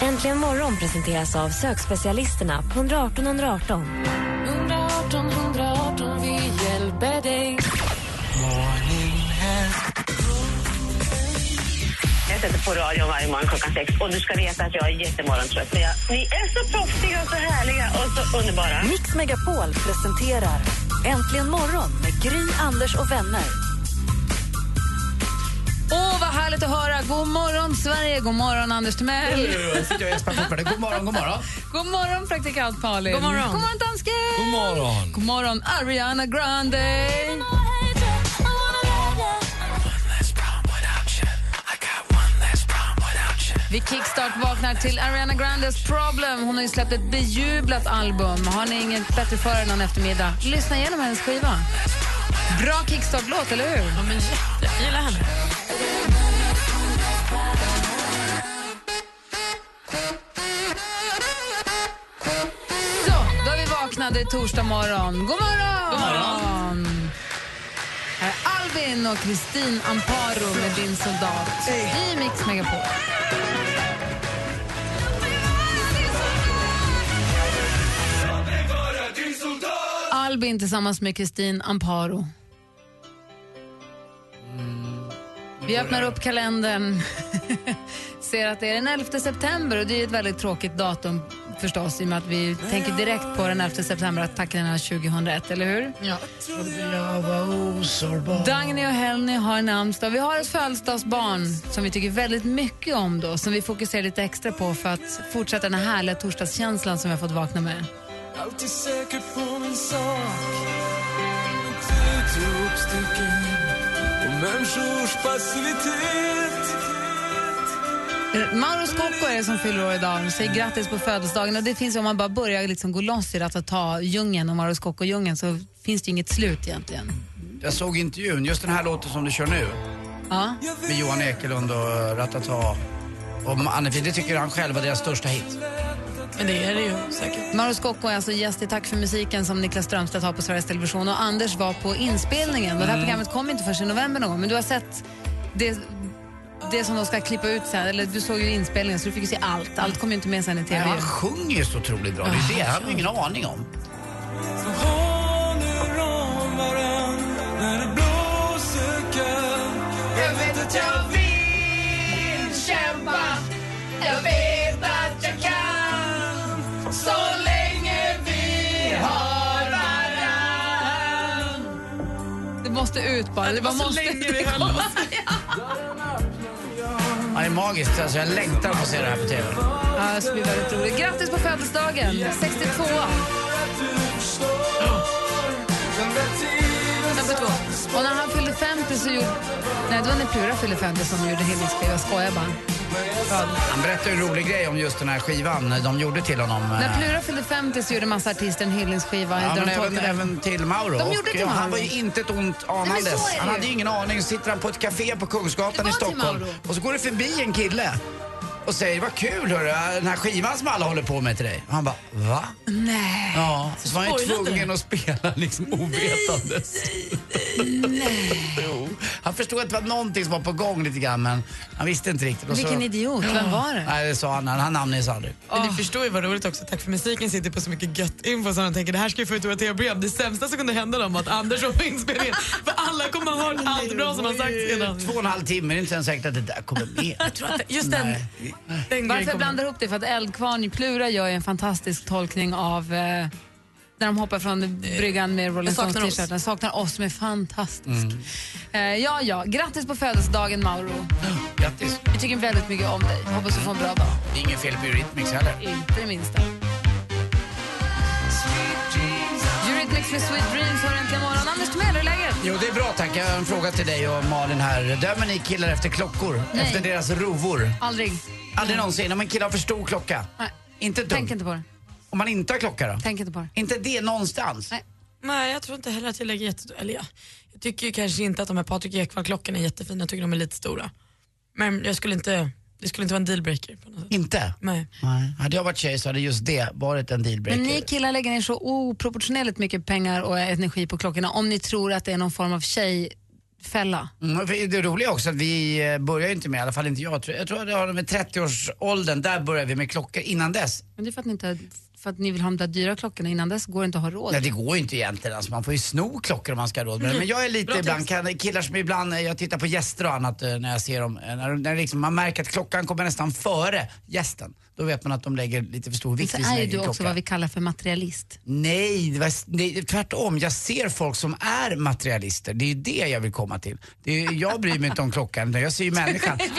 Äntligen morgon presenteras av sökspecialisterna på 118 118. 118 118, vi hjälper dig. Jag sätter på radion varje morgon klockan sex och du ska veta att jag är jättemorgontrött. Men jag, ni är så proffsiga och så härliga och så underbara. Mix Megapol presenterar Äntligen morgon med Gry, Anders och vänner. Åh, vad härligt att höra! God morgon, Sverige! God morgon, Anders Timell! sitter jag och gäspar fortfarande. God morgon, god morgon. God morgon, praktikant Malin! God morgon, God morgon dansken! God morgon! God morgon, Ariana Grande! Vi kickstart vaknar till Ariana Grandes Problem. Hon har ju släppt ett bejublat album. Har ni inget bättre för er någon eftermiddag, lyssna igenom hennes skiva. Bra kickstart-låt, eller hur? Ja, men jätte. gillar henne. Så, Alltså, då är vi vaknade i torsdag morgon. God morgon! God morgon. Här är Alvin och Kristin Amparo med Din soldat i Mix Megapol. Albin tillsammans med Kristin Amparo. Mm. Vi öppnar upp kalendern. Ser att det är den 11 september och det är ett väldigt tråkigt datum förstås i och med att vi tänker direkt på den 11 september, attackerna 2001, eller hur? Ja. Dagny och Helny har namnsdag. Vi har ett födelsedagsbarn som vi tycker väldigt mycket om då, som vi fokuserar lite extra på för att fortsätta den här härliga torsdagskänslan som vi har fått vakna med. Alltid säker på min sak Tid uppstycken och människors passivitet Mauro Scocco är det som fyller år idag. Vi säger grattis på födelsedagen. Och det finns, ju- om man bara börjar liksom gå loss i att ta djungeln och Mauro Scocco-djungeln så finns det ju inget slut egentligen. Jag såg intervjun, just den här låten som du kör nu Ja. med Johan Ekelund och eh, Ratata och Anne-Frid, det tycker han själv var deras största hit. Men det är det ju säkert. Mauro Scocco är alltså gäst i Tack för musiken som Niklas Strömstedt har på Sveriges Television och Anders var på inspelningen. Och det här programmet kom inte förrän i november någon gång, men du har sett det, det som de ska klippa ut sen, eller du såg ju inspelningen så du fick ju se allt. Allt kom ju inte med sen i Men TV. han sjunger ju så otroligt bra, det är det. Han har ju ingen aning om. när det blåser kallt Jag vet att jag vill kämpa Jag vet att jag kan Så länge vi har varann Det måste ut bara. Det, bara måste det komma. Han är magisk, alltså jag längtar att få se det här på TV. Ja, det ska bli väldigt roligt. Grattis på födelsedagen, 62. Nummer två. Och när han fyllde 50 så gjorde... Nej, det var när Plura fyllde 50 som gjorde Himmelskriv. Jag skojar bara. Han berättade en rolig grej om just den här skivan de gjorde till honom. När eh, Plura fyllde 50 så gjorde massa artister en hyllningsskiva. Ja, där men de även, tolkade- även till Mauro. De Och, gjorde till ja, Mauro. Han var ju inte ett ont Nej, men så är anandes. det Han hade ju. ju ingen aning. Så sitter han på ett café på Det Kungsgatan var i till Stockholm Mauro. och så går det förbi en kille och säger vad kul hörru, den här skivan som alla håller på med till dig. Och han bara va? Nej. Ja, så var han ju tvungen att spela liksom ovetandes. jo, han förstod att det var någonting som var på gång lite grann men han visste inte riktigt. Och så- Vilken idiot. Vem var det? Nej, det sa han. Han namnges aldrig. Men ni förstår ju vad roligt också. Tack för musiken sitter på så mycket gött info som de tänker det här ska ju få ut våra tv-program. Det sämsta som kunde hända dem var att Anders var på inspelningen. För alla kommer ha hört allt bra som har sagts innan. Två och en halv timme, det är inte ens säkert att det där kommer med. Just den, den Varför jag blandar ihop det? För att Eldkvarn i Plura gör ju en fantastisk tolkning av eh, när de hoppar från bryggan med Rolling Jag saknar Stones t-shirten. oss. Mm. Den Saknar oss, som är fantastisk. Eh, ja, ja. Grattis på födelsedagen, Mauro. Grattis. Vi tycker väldigt mycket om dig. Hoppas du får en bra dag. Det är inget fel på Eurythmics heller. Inte det minsta. Eurythmics med Sweet Dreams har äntligen morgon. Anders Timell, hur är läget? Jo, det är bra tack. Jag har en fråga till dig och Malin här. Dömer ni killar efter klockor? Nej. Efter deras rovor? Aldrig. Aldrig någonsin. Om en kille har för stor klocka? Nej. Inte dumt. Tänk inte på det. Om man inte har klocka då? Tänk inte på det. Inte det någonstans? Nej. Nej, jag tror inte heller att jag lägger jättestora... Eller jag, jag tycker ju kanske inte att de här Patrik Ekwall-klockorna är jättefina. Jag tycker de är lite stora. Men jag skulle inte... Det skulle inte vara en dealbreaker på något sätt. Inte? Nej. Nej. Hade jag varit tjej så hade just det varit en dealbreaker. Men ni killar lägger ner så oproportionerligt mycket pengar och energi på klockorna om ni tror att det är någon form av tjejfälla. Mm, för det roliga är också att vi eh, börjar ju inte med, i alla fall inte jag, tror- jag tror att det har med 30-årsåldern, där börjar vi med klockor. Innan dess, Men det är för att ni, inte, för att ni vill ha de där dyra klockorna innan dess går det inte att ha råd. nej det går ju inte egentligen, alltså, man får ju sno klockor om man ska ha råd med det. Men jag är lite ibland, kan, killar som ibland, eh, jag tittar på gäster och annat eh, när jag ser dem, eh, när, de- när liksom, man märker att klockan kommer nästan före gästen. Då vet man att de lägger lite för stor vikt Så vid sin är ju egen du klocka. också vad vi kallar för materialist. Nej, det var, nej, tvärtom. Jag ser folk som är materialister. Det är ju det jag vill komma till. Det är, jag bryr mig inte om klockan, utan jag ser ju människan. Det finns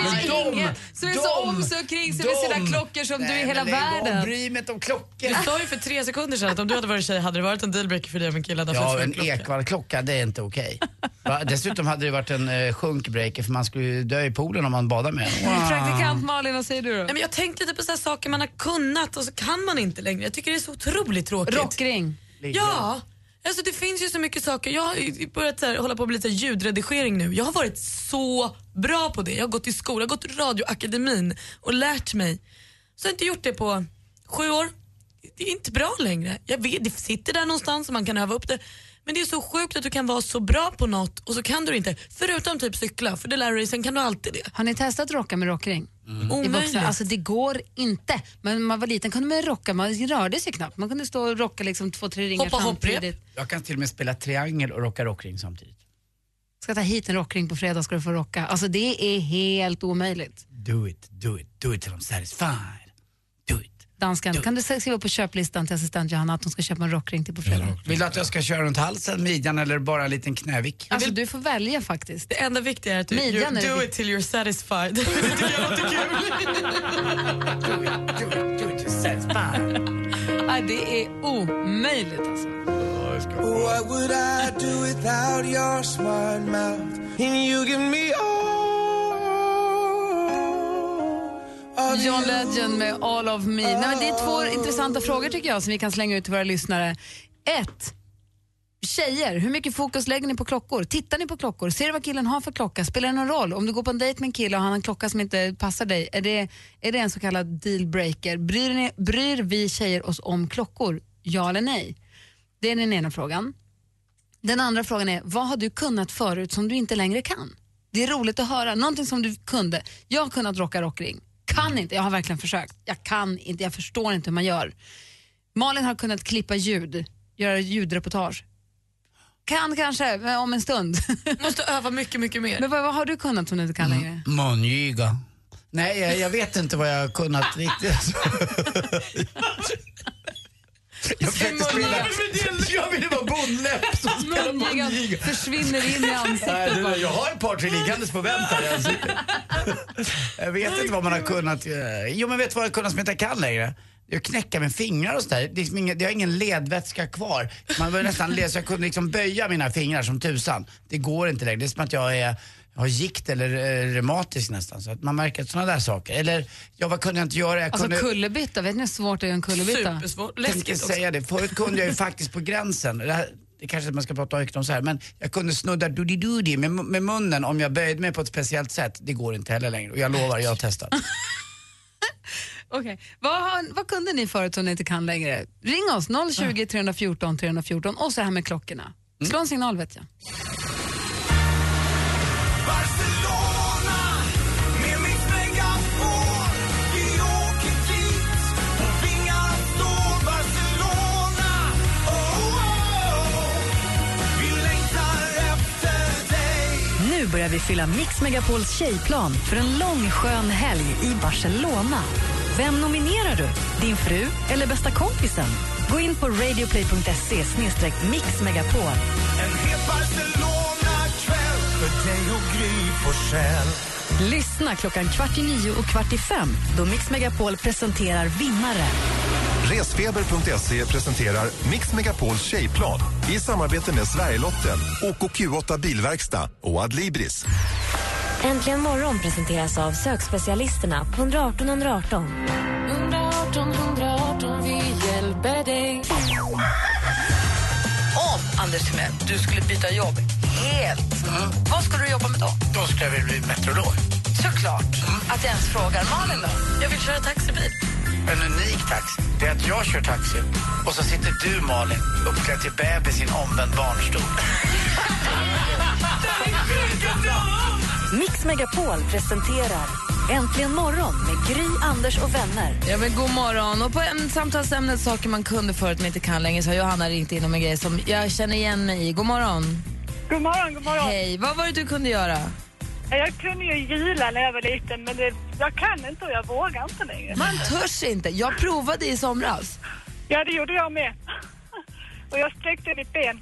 ingen som är så om sig och kring sig med sina klockor som du i men hela lägg av, världen. bryr mig inte om klockor. Du sa ju för tre sekunder sedan att om du hade varit tjej hade det varit en dealbreaker för dig om en kille hade haft Ja, för en klocka. Ekwall-klocka, det är inte okej. Va? Dessutom hade det varit en eh, sjunkbreaker för man skulle ju dö i poolen om man badar med den. Praktikant Malin, vad säger du då? Nej, men jag tänkte lite på så här saker man har kunnat och så kan man inte längre. Jag tycker det är så otroligt tråkigt. Rockring. Ja, alltså det finns ju så mycket saker. Jag har ju börjat så här, hålla på med lite ljudredigering nu. Jag har varit så bra på det. Jag har gått i skola, jag har gått radioakademin och lärt mig. Så jag har inte gjort det på sju år. Det är inte bra längre. Jag vet, det sitter där någonstans och man kan öva upp det. Men det är så sjukt att du kan vara så bra på något och så kan du det inte. Förutom typ cykla, för det lär du dig, sen kan du alltid det. Har ni testat rocka med rockring? I Omöjligt. vuxna, alltså det går inte. Men när man var liten kunde man rocka, man rörde sig knappt. Man kunde stå och rocka liksom två, tre ringar Hoppa hopprep. samtidigt. Jag kan till och med spela triangel och rocka rockring samtidigt. Ska ta hit en rockring på fredag ska du få rocka. Alltså det är helt omöjligt. Do it, do it, do it till I'm satisfied. Do it. Danskan, kan du skriva på köplistan till assistent Johanna att hon ska köpa en rockring till på fredag? Vill du att jag ska köra runt halsen, midjan eller bara en liten knävick? Alltså du får välja faktiskt. Det enda viktiga är att du you, Midjan är det do vik- it till you're satisfied. det tycker jag låter kul. Do it, do it, do it till satisfied. Nej, det är omöjligt alltså. What would I do without your smart mouth? And you give me all of you. John Legend med All of me. Nej, men det är två intressanta frågor tycker jag som vi kan slänga ut till våra lyssnare. Ett. Tjejer, hur mycket fokus lägger ni på klockor? Tittar ni på klockor? Ser du vad killen har för klocka? Spelar det någon roll? Om du går på en dejt med en kille och han har en klocka som inte passar dig, är det, är det en så kallad dealbreaker? Bryr, ni- bryr vi tjejer oss om klockor? Ja eller nej? Det är den ena frågan. Den andra frågan är, vad har du kunnat förut som du inte längre kan? Det är roligt att höra, någonting som du kunde. Jag har kunnat rocka rockring, kan inte, jag har verkligen försökt. Jag kan inte, jag förstår inte hur man gör. Malin har kunnat klippa ljud, göra ljudreportage. Kan kanske, men om en stund. Måste öva mycket, mycket mer. men vad, vad har du kunnat som du inte kan längre? Mungiga. Nej, jag, jag vet inte vad jag har kunnat riktigt. jag försökte spela... Jag ville vara bondläpp som spelade Mungigan mungiga. försvinner in i Nej, ansiktet. det där, jag har ett par tre liggandes på vänt här. i ansiktet. Jag vet inte vad man har kunnat... eh, Jo, men vet du vad jag har kunnat som jag inte kan längre? Jag knäcka med fingrar och sådär. Det är liksom inga- Jag har ingen ledvätska kvar. Man var ju nästan led, så jag kunde liksom böja mina fingrar som tusan. Det går inte längre. Det är som att jag är, har gikt eller eh, reumatisk nästan. Så att man märker sådana där saker. Eller, jag, vad kunde jag inte göra? Jag Alltså kunde... kullerbytta, vet ni hur svårt det är att göra en kullerbytta? Supersvårt. tänkte Läskigt också. säga det. Förut kunde jag ju faktiskt på gränsen, det, här, det kanske man ska prata högt om så här, men jag kunde snudda doody med, med munnen om jag böjde mig på ett speciellt sätt. Det går inte heller längre och jag lovar, jag har testat. Okej. Vad, har, vad kunde ni förut som ni inte kan längre? Ring oss, 020 314 314 och så det här med klockorna. Mm. Slå en signal vet jag. Barcelona med mitt megafon. Vi åker dit och vingarna står. Barcelona, oh, oh, oh. Vi längtar efter dig. Nu börjar vi fylla Mix Megapols tjejplan för en lång skön helg i Barcelona. Vem nominerar du? Din fru eller bästa kompisen? Gå in på radioplay.se mixmegapol. En het Barcelona-kväll för dig och Gry Forssell. Lyssna klockan kvart i nio och kvart i fem då Mix Megapol presenterar vinnare. Resfeber.se E presenterar Mix Megapols tjejplan i samarbete med Sverigelotten, OKQ8 Bilverkstad och Adlibris. Äntligen morgon presenteras av sökspecialisterna på 118 118. 118 118, vi hjälper Anders Timell, du skulle byta jobb helt. Vad skulle du jobba med då? Då skulle jag vilja bli meteorolog. Såklart att jag ens frågar. Malin då? Jag vill köra taxibil. En unik taxi, det är att jag kör taxi och så sitter du Malin uppklädd till bebis i en omvänd barnstol. Mix Megapol presenterar Äntligen morgon med Gry, Anders och vänner. Ja, men god morgon. Och på en samtalsämnet saker man kunde förut men inte kan längre så har Johanna ringt in om en grej som jag känner igen mig i. God morgon. God morgon, god morgon. Hej. Vad var det du kunde göra? Ja, Jag kunde ju gila när jag var liten, men det, jag kan inte och jag vågar inte längre. Man törs inte. Jag provade i somras. Ja, det gjorde jag med. Och jag sträckte mitt ben.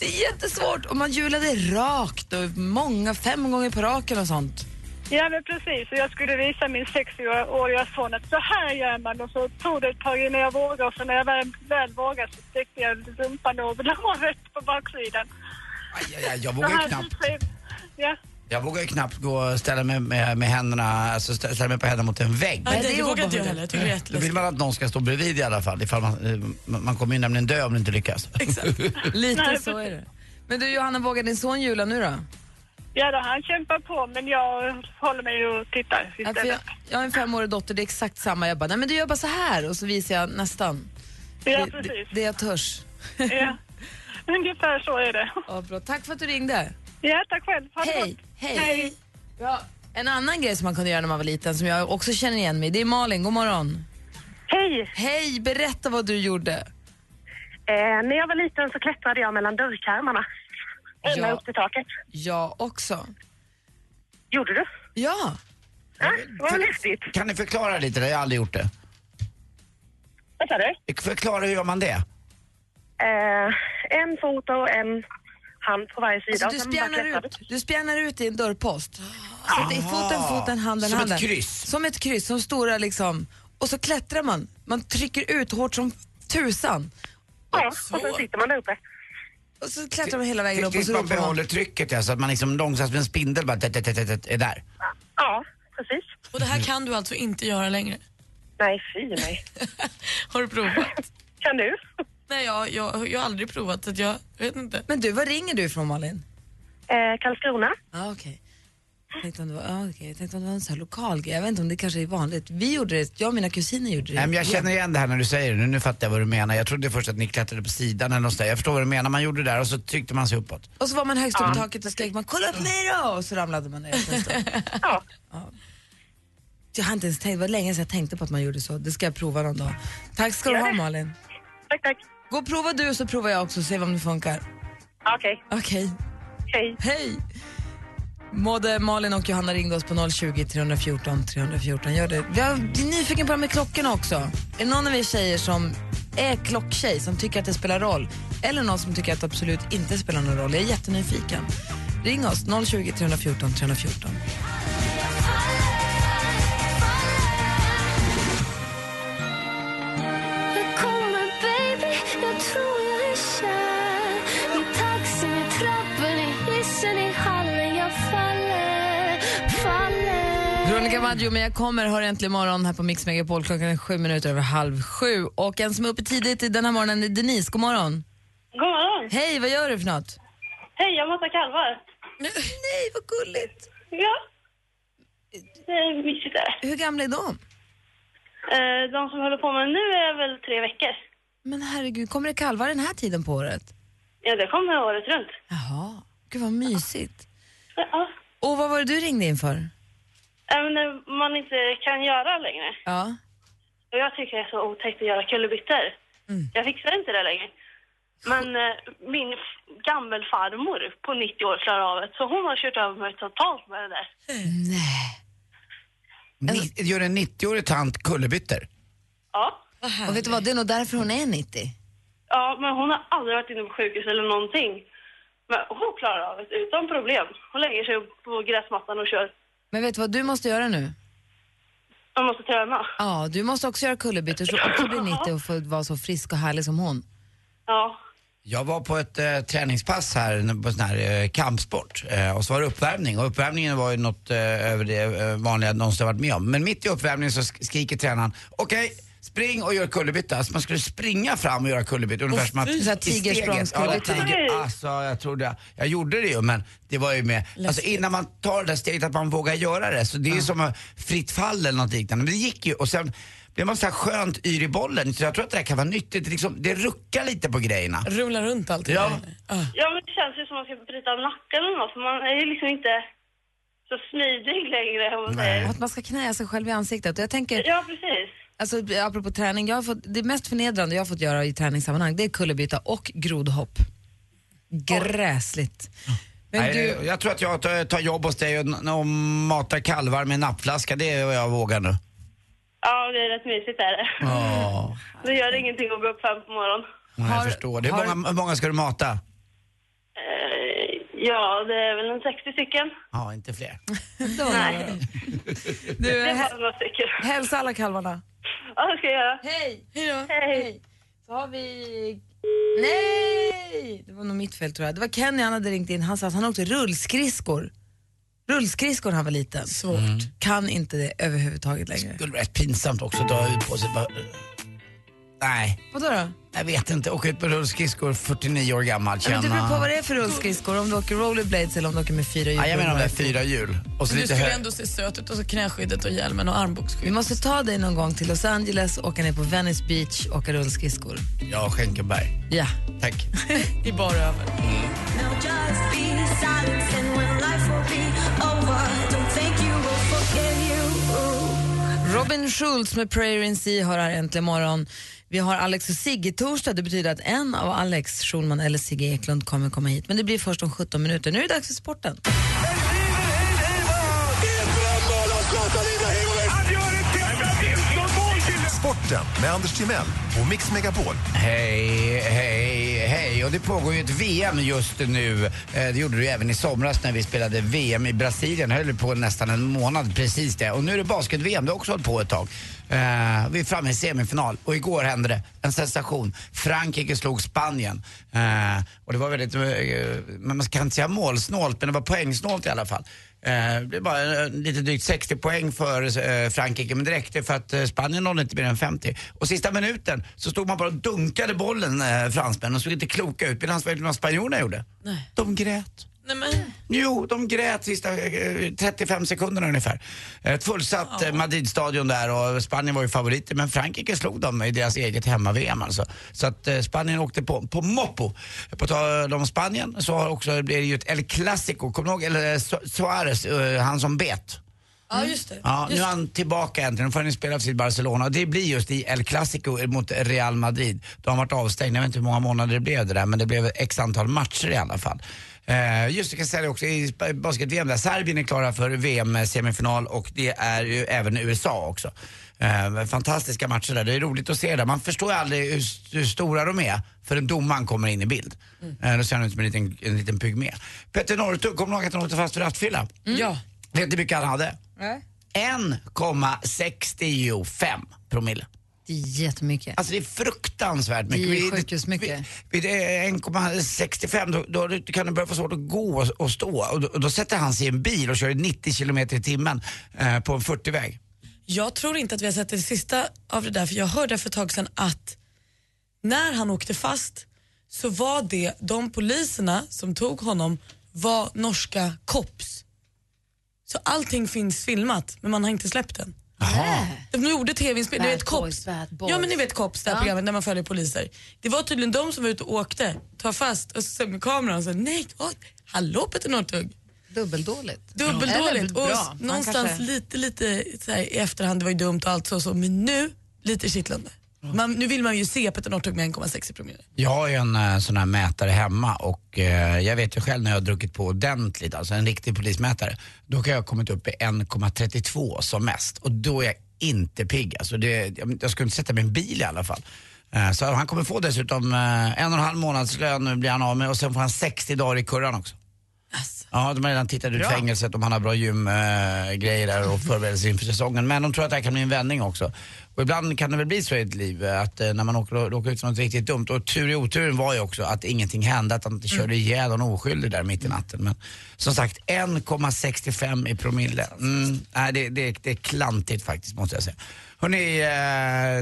Det är jättesvårt och man hjulade rakt och många, fem gånger på raken och sånt. Ja, men precis. Och jag skulle visa min 60-åriga son att så här gör man. Och så tog det ett tag innan jag vågade. Och så när jag väl, väl vågade så sträckte jag rumpan över låret på baksidan. Ja, jag vågar ju knappt. Ja. Jag vågar ju knappt gå och ställa mig med, med händerna, alltså stä- ställa mig på händerna mot en vägg. Nej, det, vågar inte jag heller. Jag tycker det är Då vill jätteläskigt. man att någon ska stå bredvid i alla fall. Ifall man, eh, man man kommer ju nämligen dö om det inte lyckas. Lite Nej, så är det. Men du Johanna, vågar din son jula nu då? Ja, då, han kämpar på, men jag håller mig och tittar Ja, för jag, istället. jag har en femårig dotter, det är exakt samma. Jag bara, nej men du gör bara så här och så visar jag nästan. Ja, det, det, precis. det jag törs. Ja. Ungefär så är det. Ja, bra. Tack för att du ringde. Ja, tack själv. Ha det Hej, gott. hej. Ja, en annan grej som man kunde göra när man var liten som jag också känner igen mig i, det är Malin, god morgon. Hej! Hej, berätta vad du gjorde. Eh, när jag var liten så klättrade jag mellan dörrkarmarna. Ända Ja. upp till taket. Jag också. Gjorde du? Ja. Ah, det var väl häftigt. Kan ni förklara lite? det? Jag har aldrig gjort det. Vad sa du? Förklara hur gör man det? Eh, en fot och en hand på varje sida. Alltså, du, och sen bara Ah. spjärnar klättrade. ut, du spjärnar ut i en dörrpost. Så att det är foten, foten, handen, Som ett handen. kryss. Som ett kryss. Som stora liksom. Och så klättrar man. Man trycker ut hårt som tusan. Ja, och sen sitter man där uppe. Och så klättrar man hela vägen upp och Tills så man ropar man. behåller trycket ja, så att man liksom långsamt som en spindel bara tätt, tätt, tätt, tätt, är där. Ja, precis. Och det här kan du alltså inte göra längre? Nej, fy nej. har du provat? kan du? Nej, jag, jag, jag har aldrig provat så att jag vet inte. Men du, var ringer du ifrån Malin? Eh, Karlskrona. Ja, okej. Jag tänkte om det var, ja, okej. Jag tänkte om det var en sån här lokal grej. Jag vet inte om det kanske är vanligt. Vi gjorde det, jag och mina kusiner gjorde det. Nej, men jag känner igen det här när du säger det. Nu, nu fattar jag vad du menar. Jag trodde först att ni klättrade på sidan eller något sånt där. Jag förstår vad du menar. Man gjorde det där och så tryckte man sig uppåt. Och så var man högst upp Ja. i taket och skrek man kolla upp mig då! Och så ramlade man ner efter en stund. Ja. Jag har inte ens tänkt, det var länge sedan jag tänkte på att man gjorde så. Det ska jag prova någon dag. Tack ska du Gör ha det. Malin. Tack, tack. Gå och prova du så provar jag också och ser om det funkar. Okej. Okej. Hej. Hej. Både Malin och Johanna ringde oss på 020 314 314. Gör det. Jag är nyfiken på det här med klockorna också. Är det någon av er tjejer som är klocktjej som tycker att det spelar roll? Eller någon som tycker att det absolut inte spelar någon roll? Jag är jättenyfiken. Ring oss, 020 314 314. Jag kommer baby, jag tror jag är kär I taxin, i trappen, i hissen, i hallen Jag faller, faller Veronica Maggio med Jag kommer hör äntligen morgon här på Mix Megapol. Klockan är sju minuter över halv sju. Och en som är uppe tidigt i den här morgonen är Denise. God morgon. God morgon. Hej, vad gör du för något? Hej, jag matar kalvar. Nej, vad gulligt. Ja. Det är mysigt där. Hur gamla är de? Eh, De som håller på med nu är väl tre veckor. Men herregud, kommer det kalvar den här tiden på året? Ja, det kommer året runt. Jaha, gud vad mysigt. Ja. Och vad var det du ringde in för? Även när man inte kan göra längre. Ja. Och jag tycker det är så otäckt att göra kullerbyttor. Jag fixar inte det längre. Men eh, min f- gammelfarmor på 90 år klarar av det, så hon har kört över mig totalt med det där. Ni, gör en 90-årig tant kullerbyttor? Ja. Och vet du vad, det är nog därför hon är 90. Ja, men hon har aldrig varit inne på sjukhus eller någonting. Men hon klarar av det utan problem. Hon lägger sig upp på gräsmattan och kör. Men vet du vad du måste göra nu? Man måste träna. Ja, du måste också göra kullerbyttor så du också blir 90 och får vara så frisk och härlig som hon. Ja. Jag var på ett eh, träningspass här på sån här eh, kampsport eh, och så var det uppvärmning och uppvärmningen var ju något eh, över det eh, vanliga jag någonsin har varit med om. Men mitt i uppvärmningen så sk- skriker tränaren, okej, spring och gör kullerbytta. Alltså man skulle springa fram och göra kullerbytta. Ungefär som att... fy. Så här i steget- tigersprångskullerbytta. Ja, tiger, alltså jag trodde jag... Jag gjorde det ju men det var ju med... Alltså innan man tar det där steget att man vågar göra det. Så det är ju som att fritt fall eller något liknande. Men det gick ju och sen blev man så här skönt yr i bollen. Så jag tror att det här kan vara nyttigt. Det, liksom, det ruckar lite på grejerna. Rullar runt allt. Ja. Ja, men det känns ju som att man ska bryta nacken eller något, för man är ju liksom inte så smidig längre. Om man säger. Och att man ska knäa sig själv i ansiktet. Och jag tänker, Ja, precis. alltså, apropå träning, jag har fått, det mest förnedrande jag har fått göra i träningssammanhang det är kullerbyta och grodhopp. Gräsligt. Men Nej, du- Jag tror att jag tar, tar jobb hos dig och, n- och matar kalvar med en nappflaska. Det är vad jag vågar nu. Ja, det är rätt mysigt är det. Ja, Det gör ingenting att gå upp fem på morgonen. jag förstår. Det. Hur har- många, hur många ska du mata? Eh, Ja, det är väl en 60 stycken. Ja, inte fler. Nej. Du, det hä- var några stycken. hälsa alla kalvarna. Ja, det ska jag göra. Hej! Hej Hej! Så har vi... Nej! Det var nog mitt fel tror jag. Det var Kenny, han hade ringt in. Han sa att han åkte rullskridskor. Rullskridskor när han var liten. Svårt. Kan inte det överhuvudtaget längre. Det vore rätt pinsamt också att dra ut på sig. bara- Nej, Vadå då? jag vet inte. Åka ut på rullskridskor 49 år gammal, Ja, känna... men det beror på vad det är för rullskridskor. Om du åker rollerblades eller om du åker med fyra hjul. Ja, jag menar de där fyra hjul. Och Men du så lite skulle hög... ändå se söt ut och så knäskyddet och hjälmen och Vi armbågsskyddet. måste ta dig någon gång till Los Angeles, åka ner på Venice Beach, åka rullskridskor. Ja, Schenkenberg. Ja. Tack. I bara över. Robin Schultz med Prayer in Sea har här äntligen morgon. Vi har Alex och Sigge-torsdag. Det betyder att en av Alex Schulman eller Sigge Eklund kommer komma hit. Men det blir först om 17 minuter. Nu är det dags för sporten. Sporten med Anders Timell och Mix Megapol. Hej, hej, hej. Och det pågår ju ett VM just nu. Eh, Det gjorde det ju även i somras när vi spelade VM i Brasilien. höll på nästan en månad, precis det. Och nu är det basket-VM, det har också hållit på ett tag. Eh, Vi är framme i semifinal och igår hände det. En sensation. Frankrike slog Spanien. Eh, Och det var väldigt, eh, men man kan inte säga målsnålt, men det var poängsnålt i alla fall. Eh, Det blev bara eh, lite drygt 60 poäng för eh, Frankrike, men det räckte för att eh, Spanien nådde inte mer än 50. Och sista minuten så stod man bara och dunkade bollen, eh, fransmännen, och såg inte kloka ut. Medan vad spanjorerna gjorde? Nej. De grät. Nej, men... Jo, de grät sista eh, 35 sekunderna ungefär. Ett fullsatt eh, Madrid-stadion där och Spanien var ju favoriter men Frankrike slog dem i deras eget hemma-VM alltså. Så att eh, Spanien åkte på, på moppo. På tal om Spanien så har också, blir det ju ett El Clasico, kommer du ihåg? Eller eh, Su- Suarez, eh, han som bet. Ja, just det. Ja, nu är han tillbaka äntligen. Nu får han ju spela för sitt Barcelona. Och det blir just i El Clasico mot Real Madrid. De har varit avstängda, jag vet inte hur många månader det blev det där, men det blev x antal matcher i alla fall. Eh, just det, kan jag säga det också i sp- basket-VM där Serbien är klara för VM-semifinal och det är ju även USA också. Eh, fantastiska matcher där, det är roligt att se det. Man förstår ju aldrig hur, s- hur stora de är förrän domaren kommer in i bild. Eh, då ser han ut som en liten, en liten pygmé. Petter Northug, kommer du ihåg att han åkte fast för rattfylla? Ja. Vet du hur mycket han hade? 1,65 promille. Det är jättemycket. Alltså det är fruktansvärt mycket. Det är Vid- sjukhusmycket. Vid eh, 1,65 då, då kan du börja få svårt att gå och, och stå. Och då, och då sätter han sig i en bil och kör i 90 kilometer i timmen eh, på en 40-väg. Jag tror inte att vi har sett det sista av det där för jag hörde för ett tag sedan att när han åkte fast så var det de poliserna som tog honom var norska kops. Så allting finns filmat men man har inte släppt den. De gjorde tv-inspelning, ni vet kops. Ja men ni vet kops, det här programmet när man följer poliser. Det var tydligen de som var ute och åkte, tar fast och så sen med kameran och så nej, oj, hallå Petter Northug. Dubbeldåligt. Dubbeldåligt. Eller Och bra. s- Man någonstans kanske- lite, lite så här, i efterhand, det var ju dumt och allt så, så men nu lite kittlande. Man, nu vill man ju se Petter Northug med 1,6 promille. Jag har ju en eh, sån här mätare hemma och eh, jag vet ju själv när jag har druckit på ordentligt, alltså en riktig polismätare, då kan jag ha kommit upp i 1,32 som mest och då är jag inte pigg. Alltså det, jag, jag skulle inte sätta mig i en bil i alla fall. Eh, Så han kommer få dessutom eh, en och en halv månadslön nu blir han av med och sen får han 60 dagar i kurran också. Ja, de har redan tittat ut fängelset om han har bra gymgrejer där och förberedelser inför säsongen. Men de tror att det här kan bli en vändning också. Och Och ibland kan det väl bli så i ett liv eh, att eh, när man åker, åker ut för något riktigt dumt, och tur i oturen var ju också att ingenting hände, att han inte körde ihjäl någon oskyldig där mitt i natten. Men som sagt, 1,65 i promille. Mm, nej, det, det, det är klantigt faktiskt måste jag säga. Hörrni,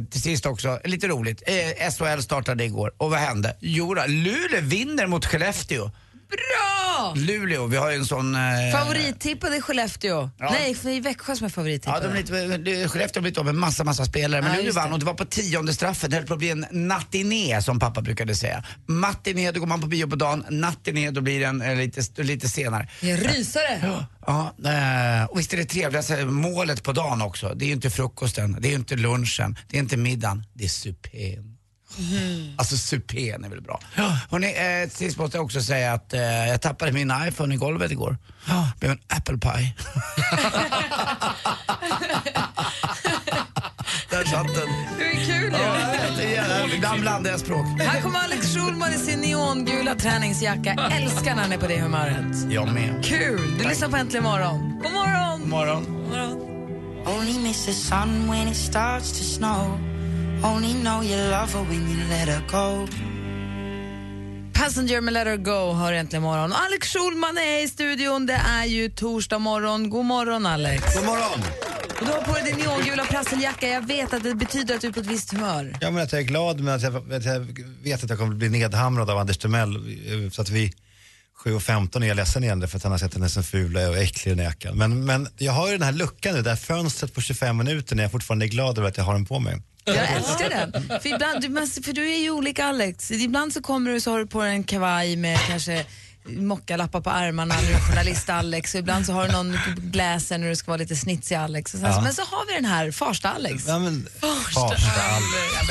eh, till sist också, lite roligt. Eh, SHL startade igår och vad hände? Jo, då, Luleå vinner mot Skellefteå. Bra! Luleå, vi har ju en sån... eh, Favorittippade Skellefteå. Ja. Nej, för i Växjö som är Ja, favorittippade. de är lite, det- Skellefteå har blivit av med massa, massa spelare. Men Ja, Luleå just det. vann och det var på tionde straffet. Det höll på att bli en nattiné som pappa brukade säga. Matiné, då går man på bio på dagen. Nattiné, då blir den eh, lite, lite senare. Det är rysare. Ja, eh, och visst är det trevligaste målet på dagen också. Det är ju inte frukosten, det är ju inte lunchen, det är inte middagen, det är supén. Alltså supén är väl bra. Hörrni, eh, till sist måste jag också säga att eh, jag tappade min iPhone i golvet igår. Det blev en apple pie. Där satt den. Det är kul ju. Ibland blandar jag språk. Här kommer Alex Schulman i sin neongula träningsjacka. Älskar när han är på det humöret. Jag med. Kul! Du lyssnar på Äntligen morgon. God morgon! God morgon. Only miss the sun when it starts to snow. Only know you love her when you let her go. Passenger med Let Her Go har äntligen morgon. Alex Schulman är i studion. Det är ju torsdag morgon. God morgon, Alex. God morgon. Och du har på dig din neongula prasseljacka. Jag vet att det betyder att du är på ett visst humör. Ja, men att jag är glad men att jag, att jag vet att jag kommer bli nedhamrad av Anders Timell. eh, Så att vi 7.15 är jag ledsen igen för att han har sett henne som ful och äcklig i den här jackan. Men, men jag har ju den här luckan nu, det här fönstret på 25 minuter när jag fortfarande är glad över att jag har den på mig. Jag älskar den. För, ibland, du, men- för du är ju olika, Alex. Ibland så kommer du så har du på dig en kavaj med kanske mockalappar på armarna, du är journalist-Alex. Och ibland så har du någon gläser när du ska vara lite snitsig, Alex. Och sen, Ja. Men så har vi den här Farsta-Alex. Ja, men, Farsta. Farsta.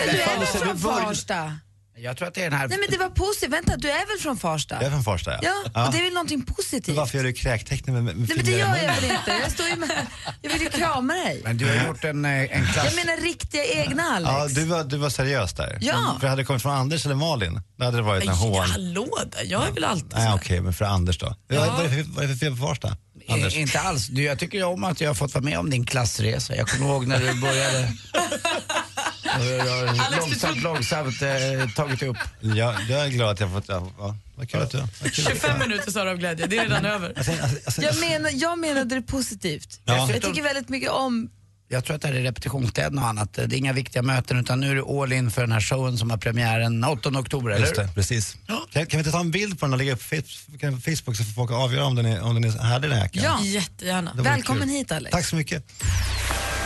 Men du är väl från började- Farsta? Jag tror att det är den här... Nej men det var positivt, vänta du är väl från Farsta? Jag är från Farsta, ja. Ja, och det är väl någonting positivt? Men varför gör du kräktecknen med, med Nej men det gör jag väl inte, jag står ju med, jag vill ju krama dig. Men du har gjort en, eh, en klass... Jag menar riktiga egna Alex. Ja, du var, du var seriös där. Mm, Ja. För hade det kommit från Anders eller Malin, då hade det varit en hån. Hallå där, jag är väl alltid... Nej, okej, men för Anders då? Vad vad är det för- vad är det för fel på Farsta? Anders? Eh, Inte alls. Du, jag tycker ju om att jag har fått vara med om din klassresa. Jag kommer ihåg när du började... Jag har långsamt, långsamt eh, tagit upp. Ja, jag är glad att jag fått... Ja, ja. Vad kul att du... vad kul att du- 25 minuter sa du av glädje, det är redan över. Jag, menar, jag menade det positivt. Ja. Jag tycker väldigt mycket om Jag tror att det här är repetitionskläderna och annat. eh, Det är inga viktiga möten utan nu är det all in för den här showen som har premiär den 8 oktober, eller Just det, precis. Kan, kan vi inte ta en bild på den och lägga upp fa- kan- på Facebook så får folk avgöra om den är, om den är härlig den här jackan? Ja. Jättegärna. Det vore kul. hit Alex. Tack så mycket.